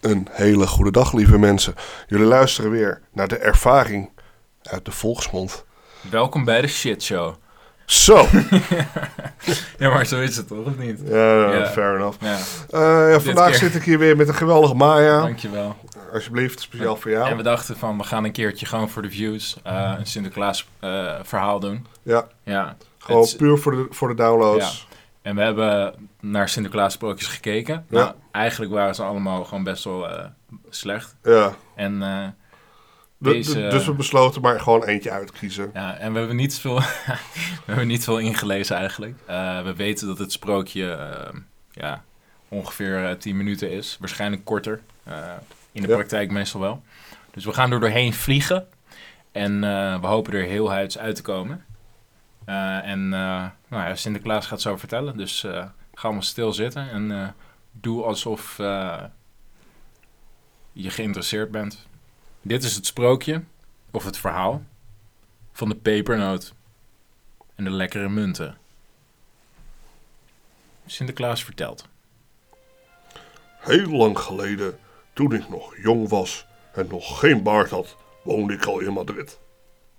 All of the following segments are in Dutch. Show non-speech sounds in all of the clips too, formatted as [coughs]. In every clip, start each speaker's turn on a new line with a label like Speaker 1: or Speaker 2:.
Speaker 1: Een hele goede dag, lieve mensen. Jullie luisteren weer naar de ervaring uit de volksmond.
Speaker 2: Welkom bij de shit show.
Speaker 1: Zo!
Speaker 2: Ja, maar zo is het toch, of niet?
Speaker 1: Ja,
Speaker 2: [laughs] Ja.
Speaker 1: fair enough.
Speaker 2: Ja,
Speaker 1: Eh, ja, vandaag
Speaker 2: keer.
Speaker 1: zit ik hier weer met een geweldige Maya.
Speaker 2: dankjewel.
Speaker 1: Alsjeblieft, speciaal voor
Speaker 2: En we
Speaker 1: jou.
Speaker 2: dachten van, we gaan een keertje gewoon voor de views eh, een Sinterklaas eh, verhaal doen.
Speaker 1: Ja,
Speaker 2: Ja.
Speaker 1: gewoon
Speaker 2: Het-
Speaker 1: puur voor de, voor de downloads.
Speaker 2: en we hebben naar Sinterklaas sprookjes gekeken.
Speaker 1: Ja.
Speaker 2: Nou, eigenlijk waren ze allemaal gewoon best wel eh, slecht.
Speaker 1: Ja.
Speaker 2: En, eh,
Speaker 1: De- de-
Speaker 2: Deze- eh,
Speaker 1: Dus we besloten maar gewoon eentje uit te kiezen.
Speaker 2: ja, en we hebben niet veel, [laughs] we hebben niet veel ingelezen eigenlijk. Eh, we weten dat het sprookje eh, ja, ongeveer eh, 10 minuten is. Waarschijnlijk korter. eh, in de
Speaker 1: Ja.
Speaker 2: praktijk meestal wel. Dus we gaan er doorheen vliegen. En eh, we hopen er heel huids uit te komen. Eh, en eh, nou ja, Sinterklaas gaat zo vertellen. Dus eh, ga allemaal stilzitten. En eh, doe alsof eh, je geïnteresseerd bent. Dit is het sprookje, of het verhaal, van de pepernoot en de lekkere munten. Sinterklaas vertelt.
Speaker 1: Heel lang geleden, toen ik nog jong was en nog geen baard had, woonde ik al in Madrid.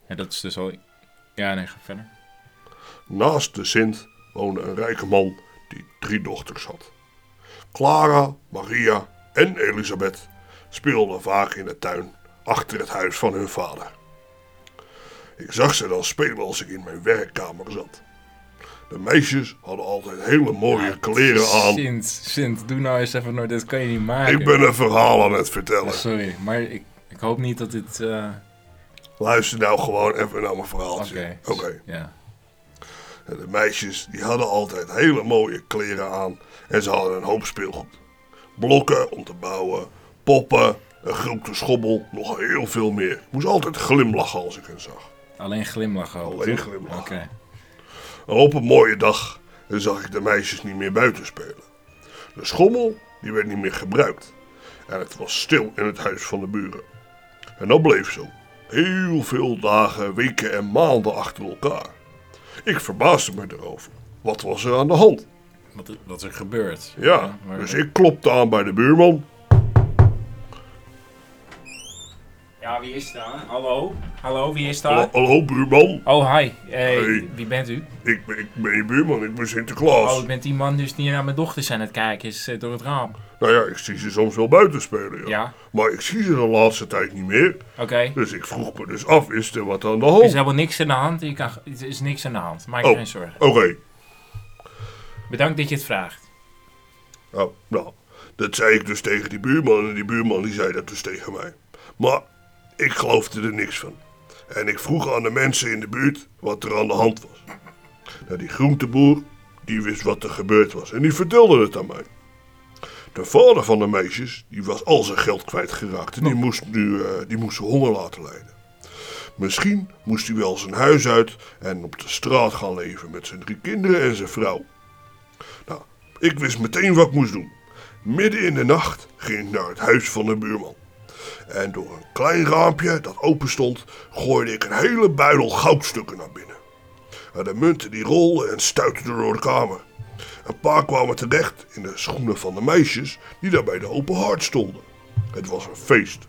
Speaker 2: En dat is dus al... Ja, nee, ga verder.
Speaker 1: Naast de Sint woonde een rijke man die drie dochters had. Clara, Maria en Elisabeth speelden vaak in de tuin achter het huis van hun vader. Ik zag ze dan spelen als ik in mijn werkkamer zat. De meisjes hadden altijd hele mooie kleren aan.
Speaker 2: Sint, Sint, doe nou eens even... nooit. Dit kan je niet maken.
Speaker 1: Ik ben een verhaal aan het vertellen.
Speaker 2: Sorry, maar ik, ik hoop niet dat dit... eh,
Speaker 1: Luister nou gewoon even naar mijn
Speaker 2: Oké.
Speaker 1: verhaaltje. Oké.
Speaker 2: Ja.
Speaker 1: En de meisjes die hadden altijd hele mooie kleren aan en ze hadden een hoop speelgoed. Blokken om te bouwen, poppen, een grote schobbel, nog heel veel meer. Ik moest altijd glimlachen als ik hen zag.
Speaker 2: Alleen glimlachen. hoop ik,
Speaker 1: Alleen
Speaker 2: toch?
Speaker 1: glimlachen.
Speaker 2: Oké.
Speaker 1: En op een mooie dag dan zag ik de meisjes niet meer buiten spelen. De schommel die werd niet meer gebruikt en het was stil in het huis van de buren. En dat bleef zo. Heel veel dagen, weken en maanden achter elkaar. Ik verbaasde me erover. Wat was er aan de hand?
Speaker 2: Wat, wat er gebeurt.
Speaker 1: Ja,
Speaker 2: maar-
Speaker 1: dus ik klopte aan bij de buurman.
Speaker 3: Ja, wie is daar? Hallo? Hallo, wie is
Speaker 1: Hallo,
Speaker 3: daar?
Speaker 1: hallo, buurman,
Speaker 3: Oh, hi. Hey,
Speaker 1: Hey.
Speaker 3: Wie bent u?
Speaker 1: ik ben, ik ben je buurman, ik ben
Speaker 3: Oh,
Speaker 1: Sinterklaas.
Speaker 3: u bent die man dus die naar mijn dochters aan het kijken is eh, door het raam.
Speaker 1: Nou ja, ik zie ze soms wel buiten spelen, ja.
Speaker 3: Ja,
Speaker 1: Maar ik zie ze de laatste tijd niet meer.
Speaker 3: oké.
Speaker 1: Dus ik vroeg me dus af, is er wat aan de
Speaker 3: Er is
Speaker 4: Oh.
Speaker 1: hand?
Speaker 3: helemaal niks aan de hand. Je kan, er is niks aan de hand. Maak je
Speaker 1: Oh.
Speaker 3: geen zorgen.
Speaker 1: Oké,
Speaker 3: Bedankt dat je het vraagt.
Speaker 1: nou, nou, dat zei ik dus tegen die buurman en die buurman die zei dat dus tegen mij. Maar ik geloofde er niks van. En ik vroeg aan de mensen in de buurt wat er aan de hand was. Nou, die groenteboer, die wist wat er gebeurd was en die vertelde het aan mij. De vader van de meisjes, die was al zijn geld kwijtgeraakt en die moest nu eh, die moest honger laten lijden. Misschien moest hij wel zijn huis uit en op de straat gaan leven met zijn drie kinderen en zijn vrouw. Nou, ik wist meteen wat ik moest doen. Midden in de nacht ging ik naar het huis van de buurman. En door een klein raampje dat open stond, gooide ik een hele buidel goudstukken naar binnen. En de munten die rolden en stuitten door de kamer. Een paar kwamen terecht in de schoenen van de meisjes die daar bij de open haard stonden. Het was een feest.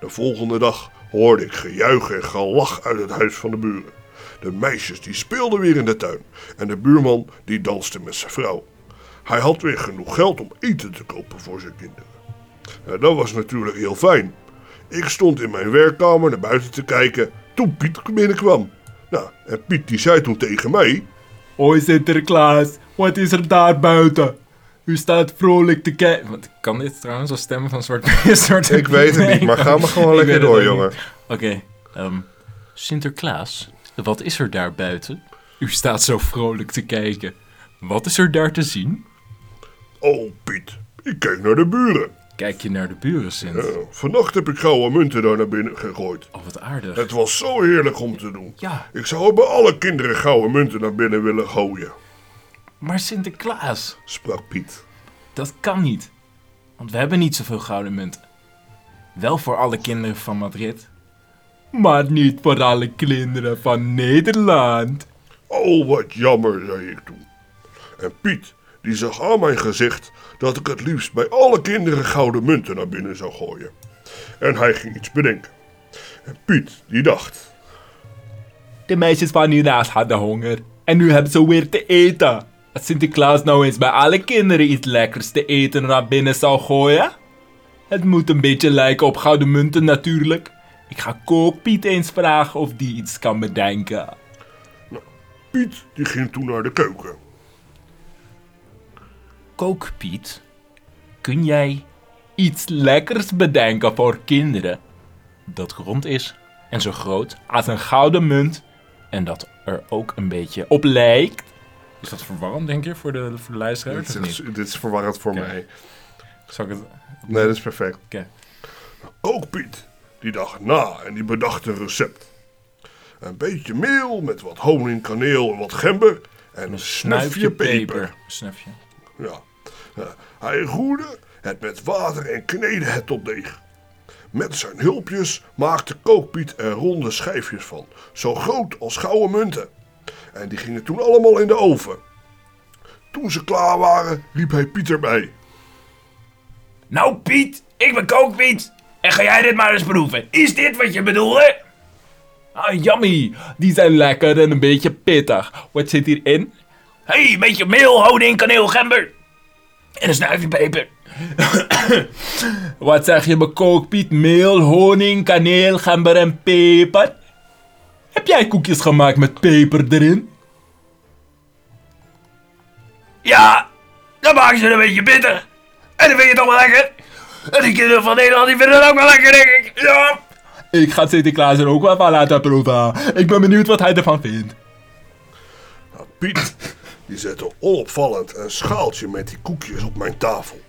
Speaker 1: De volgende dag hoorde ik gejuich en gelach uit het huis van de buren. De meisjes die speelden weer in de tuin en de buurman die danste met zijn vrouw. Hij had weer genoeg geld om eten te kopen voor zijn kinderen. Nou, dat was natuurlijk heel fijn. Ik stond in mijn werkkamer naar buiten te kijken toen Piet binnenkwam. Nou, en Piet die zei toen tegen mij...
Speaker 4: Hoi Sinterklaas, wat is er daar buiten? U staat vrolijk te kijken.
Speaker 2: Want kan dit trouwens als stemmen
Speaker 4: [laughs]
Speaker 2: van Zwarte soort
Speaker 1: maar gewoon
Speaker 2: lekker weet het door, ook jongen. Oké. ehm, Sinterklaas, wat is er daar buiten? U staat zo vrolijk te kijken. Wat is er daar te zien?
Speaker 1: Oh, Piet, ik keek naar de buren.
Speaker 2: Kijk je naar de buren,
Speaker 1: Ja,
Speaker 2: Sint.
Speaker 1: vannacht heb ik gouden munten daar naar binnen gegooid.
Speaker 2: Oh, wat aardig.
Speaker 1: Het was zo heerlijk om te doen.
Speaker 2: Ja,
Speaker 1: Ik zou bij alle kinderen gouden munten naar binnen willen gooien,
Speaker 2: maar Sinterklaas,
Speaker 1: sprak Piet.
Speaker 2: dat kan niet. Want we hebben niet zoveel gouden munten. Wel voor alle kinderen van Madrid.
Speaker 4: Maar niet voor alle kinderen van Nederland.
Speaker 1: Oh, wat jammer, zei ik toen. En Piet, Die zag aan mijn gezicht dat ik het liefst bij alle kinderen gouden munten naar binnen zou gooien. En hij ging iets bedenken. En Piet, die dacht,
Speaker 2: De meisjes van hiernaast hadden honger. En nu hebben ze weer te eten. Als Sinterklaas nou eens bij alle kinderen iets lekkers te eten naar binnen zou gooien. Het moet een beetje lijken op gouden munten natuurlijk. Ik ga Kookpiet eens vragen of die iets kan bedenken.
Speaker 1: Piet, die ging toen naar de keuken.
Speaker 2: Kookpiet, kun jij iets lekkers bedenken voor kinderen?
Speaker 5: dat rond is en zo groot als een gouden munt en dat er ook een beetje
Speaker 2: Op lijkt?
Speaker 5: Is dat verwarrend, denk je, voor de, voor de luisteraars?
Speaker 6: Dit
Speaker 5: of
Speaker 6: is,
Speaker 5: niet?
Speaker 6: dit is verwarrend voor
Speaker 5: Oké.
Speaker 6: mij.
Speaker 5: Zal ik het...
Speaker 6: Nee, dat is perfect.
Speaker 1: Ook Piet, die dacht na en die bedacht een recept. Een beetje meel met wat honing, kaneel en wat gember. En een snufje peper.
Speaker 5: Snufje.
Speaker 1: Ja. Ja, hij roerde het met water en kneedde het tot deeg. Met zijn hulpjes maakte Kookpiet er ronde schijfjes van, zo groot als gouden munten. En die gingen toen allemaal in de oven. Toen ze klaar waren, riep hij Piet erbij.
Speaker 7: Nou Piet, ik ben kookpiet. En ga jij dit maar eens proeven. Is dit wat je bedoelde?
Speaker 2: Ah, yummy! Die zijn lekker en een beetje pittig. Wat zit hierin?
Speaker 7: Hé, hey, beetje meel, honing, kaneel, gember. En een snuifje peper.
Speaker 2: [coughs] Wat zeg je me kookpiet, meel, honing, kaneel, gember en peper? Heb jij koekjes gemaakt met peper erin?
Speaker 7: Ja, dan maken ze het een beetje bitter. En dan vind je het toch wel lekker. En die kinderen van Nederland die vinden het ook wel lekker, denk ik. Ja.
Speaker 2: Ik ga Sinterklaas er ook wel van laten proeven. Ik ben benieuwd wat hij ervan vindt.
Speaker 1: Nou, Piet, die zette onopvallend een schaaltje met die koekjes op mijn tafel.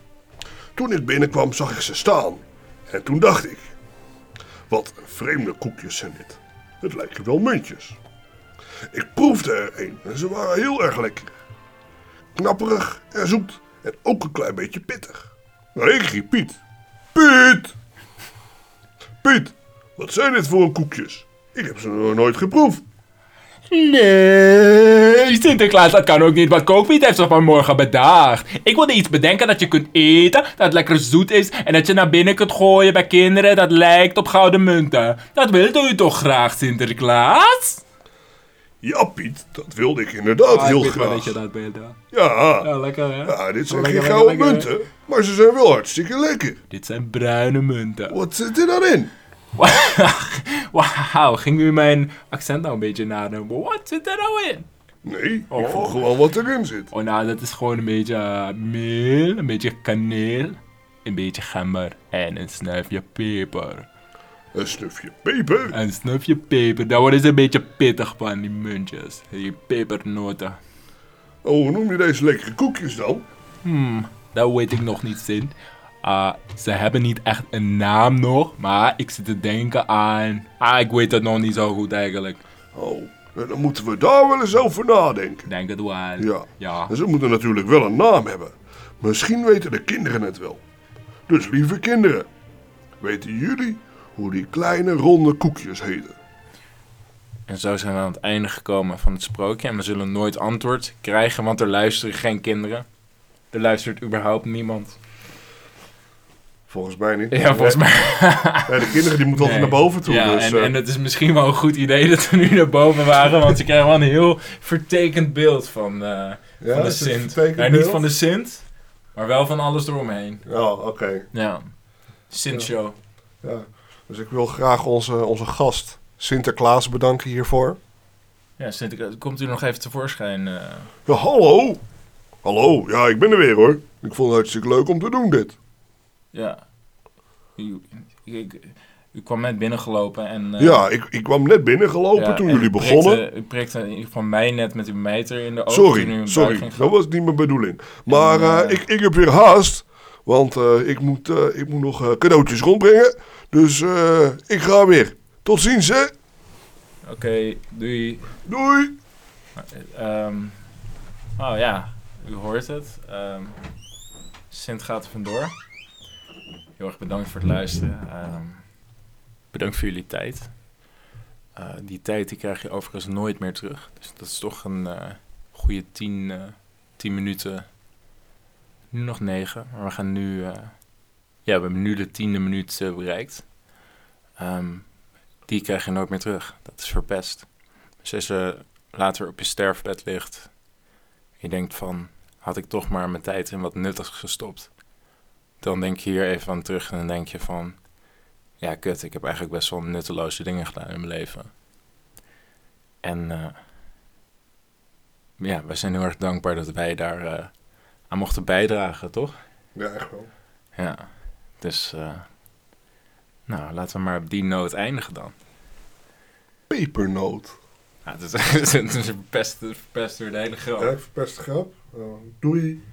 Speaker 1: Toen ik binnenkwam zag ik ze staan. En toen dacht ik, wat vreemde koekjes zijn dit. Het lijken wel muntjes. Ik proefde er een en ze waren heel erg lekker. Knapperig en zoet en ook een klein beetje pittig. Maar ik riep Piet. Piet! Piet, wat zijn dit voor koekjes? Ik heb ze nog nooit geproefd.
Speaker 2: Nee, Sinterklaas, dat kan ook niet, want Kookpiet heeft zich vanmorgen bedacht. Ik wilde iets bedenken dat je kunt eten, dat lekker zoet is en dat je naar binnen kunt gooien bij kinderen dat lijkt op gouden munten. Dat wilde u toch graag, Sinterklaas?
Speaker 1: Ja, Piet, dat wilde ik inderdaad
Speaker 2: Ah,
Speaker 1: heel graag.
Speaker 2: dat wilde.
Speaker 1: Ja,
Speaker 2: Ja, lekker hè?
Speaker 1: ja, dit zijn geen
Speaker 2: Lekker, lekker,
Speaker 1: gouden
Speaker 2: lekker, hè?
Speaker 1: munten, maar ze zijn wel hartstikke lekker.
Speaker 2: Dit zijn bruine munten. [laughs]
Speaker 1: Wat zit er dan in?
Speaker 2: Wauw, ging u mijn accent nou een beetje nadoen? Wat zit er nou in?
Speaker 1: Nee, ik voel gewoon wat erin zit.
Speaker 2: Oh, nou, dat is gewoon een beetje eh, meel, een beetje kaneel, een beetje gember en een snuifje peper.
Speaker 1: Een snufje peper.
Speaker 2: En een snuifje peper, daar worden ze een beetje pittig van, die muntjes. Die pepernoten.
Speaker 1: Oh, hoe noem je deze lekkere koekjes nou? dan?
Speaker 2: Dat weet ik nog niet, Sint. Ah, ze hebben niet echt een naam nog, maar ik zit te denken aan... Ah, ik weet het nog niet zo goed eigenlijk.
Speaker 1: Oh, eh, dan moeten we daar wel eens over nadenken.
Speaker 2: Ik Denk het wel.
Speaker 1: Ja,
Speaker 2: Ja.
Speaker 1: en ze moeten natuurlijk wel een naam hebben. Misschien weten de kinderen het wel. Dus lieve kinderen, weten jullie hoe die kleine ronde koekjes heten?
Speaker 5: En zo zijn we aan het einde gekomen van het sprookje. En we zullen nooit antwoord krijgen, want er luisteren geen kinderen. Er luistert überhaupt niemand.
Speaker 1: Volgens mij niet.
Speaker 5: Ja, volgens mij.
Speaker 1: Ja, de kinderen die moeten altijd
Speaker 5: Nee.
Speaker 1: naar boven toe.
Speaker 5: Ja,
Speaker 1: dus,
Speaker 5: en,
Speaker 1: eh,
Speaker 5: en het is misschien wel een goed idee dat we nu naar boven waren, want ze krijgen wel een heel vertekend beeld van, eh,
Speaker 6: Ja,
Speaker 5: van de
Speaker 6: is het
Speaker 5: Sint.
Speaker 6: vertekend
Speaker 5: Nou, niet
Speaker 6: beeld?
Speaker 5: van de Sint, maar wel van alles eromheen.
Speaker 6: Ja, oké.
Speaker 5: Ja. Sint-show.
Speaker 6: Ja. Dus ik wil graag onze, onze gast Sinterklaas bedanken hiervoor.
Speaker 5: Ja, Sinterklaas, komt u nog even tevoorschijn? eh?
Speaker 1: Ja, hallo. Hallo, ja, ik ben er weer hoor. Ik vond het hartstikke leuk om te doen dit.
Speaker 5: ja. U, ik- ik- u kwam net binnengelopen en... eh,
Speaker 1: ja, ik, ik kwam net binnen gelopen
Speaker 5: ja,
Speaker 1: toen
Speaker 5: en
Speaker 1: jullie
Speaker 5: u prikte-
Speaker 1: begonnen.
Speaker 5: U prikte van mij net met uw mijter in de ogen. toen u
Speaker 1: sorry,
Speaker 5: een
Speaker 1: sorry.
Speaker 5: buiging gaf.
Speaker 1: Dat was niet mijn bedoeling.
Speaker 5: En,
Speaker 1: Maar eh,
Speaker 5: eh,
Speaker 1: ik, ik heb weer haast. Want eh, ik, moet, eh, ik moet nog eh, cadeautjes rondbrengen. Dus eh, ik ga weer. Tot ziens, hè.
Speaker 5: Oké, doei.
Speaker 1: Doei.
Speaker 5: Ehm, oh ja, u hoort het. Ehm, Sint gaat er vandoor. Heel erg bedankt voor het luisteren. Ehm, bedankt voor jullie tijd. Eh, die tijd die krijg je overigens nooit meer terug. Dus dat is toch een eh, goede 10 tien, eh, tien minuten
Speaker 2: Nu nog negen, maar we gaan nu... eh, ja, we hebben nu de tiende minuut eh, bereikt. Ehm, die krijg je nooit meer terug. Dat is verpest. Dus als je later op je sterfbed ligt... Je denkt van, had ik toch maar mijn tijd in wat nuttigs gestopt. Dan denk je hier even aan terug en dan denk je van... Ja, kut, ik heb eigenlijk best wel nutteloze dingen gedaan in mijn leven. En eh, ja, we zijn heel erg dankbaar dat wij daar eh, aan mochten bijdragen, toch?
Speaker 1: Ja, echt wel.
Speaker 2: Ja, dus eh, nou, laten we maar op die noot eindigen dan. Nou,
Speaker 1: Pepernoot.
Speaker 2: [laughs] Ja, het is, het is een verpest, het verpest weer de hele grap. Nou,
Speaker 1: Ja, ik verpest de grap. Eh, doei.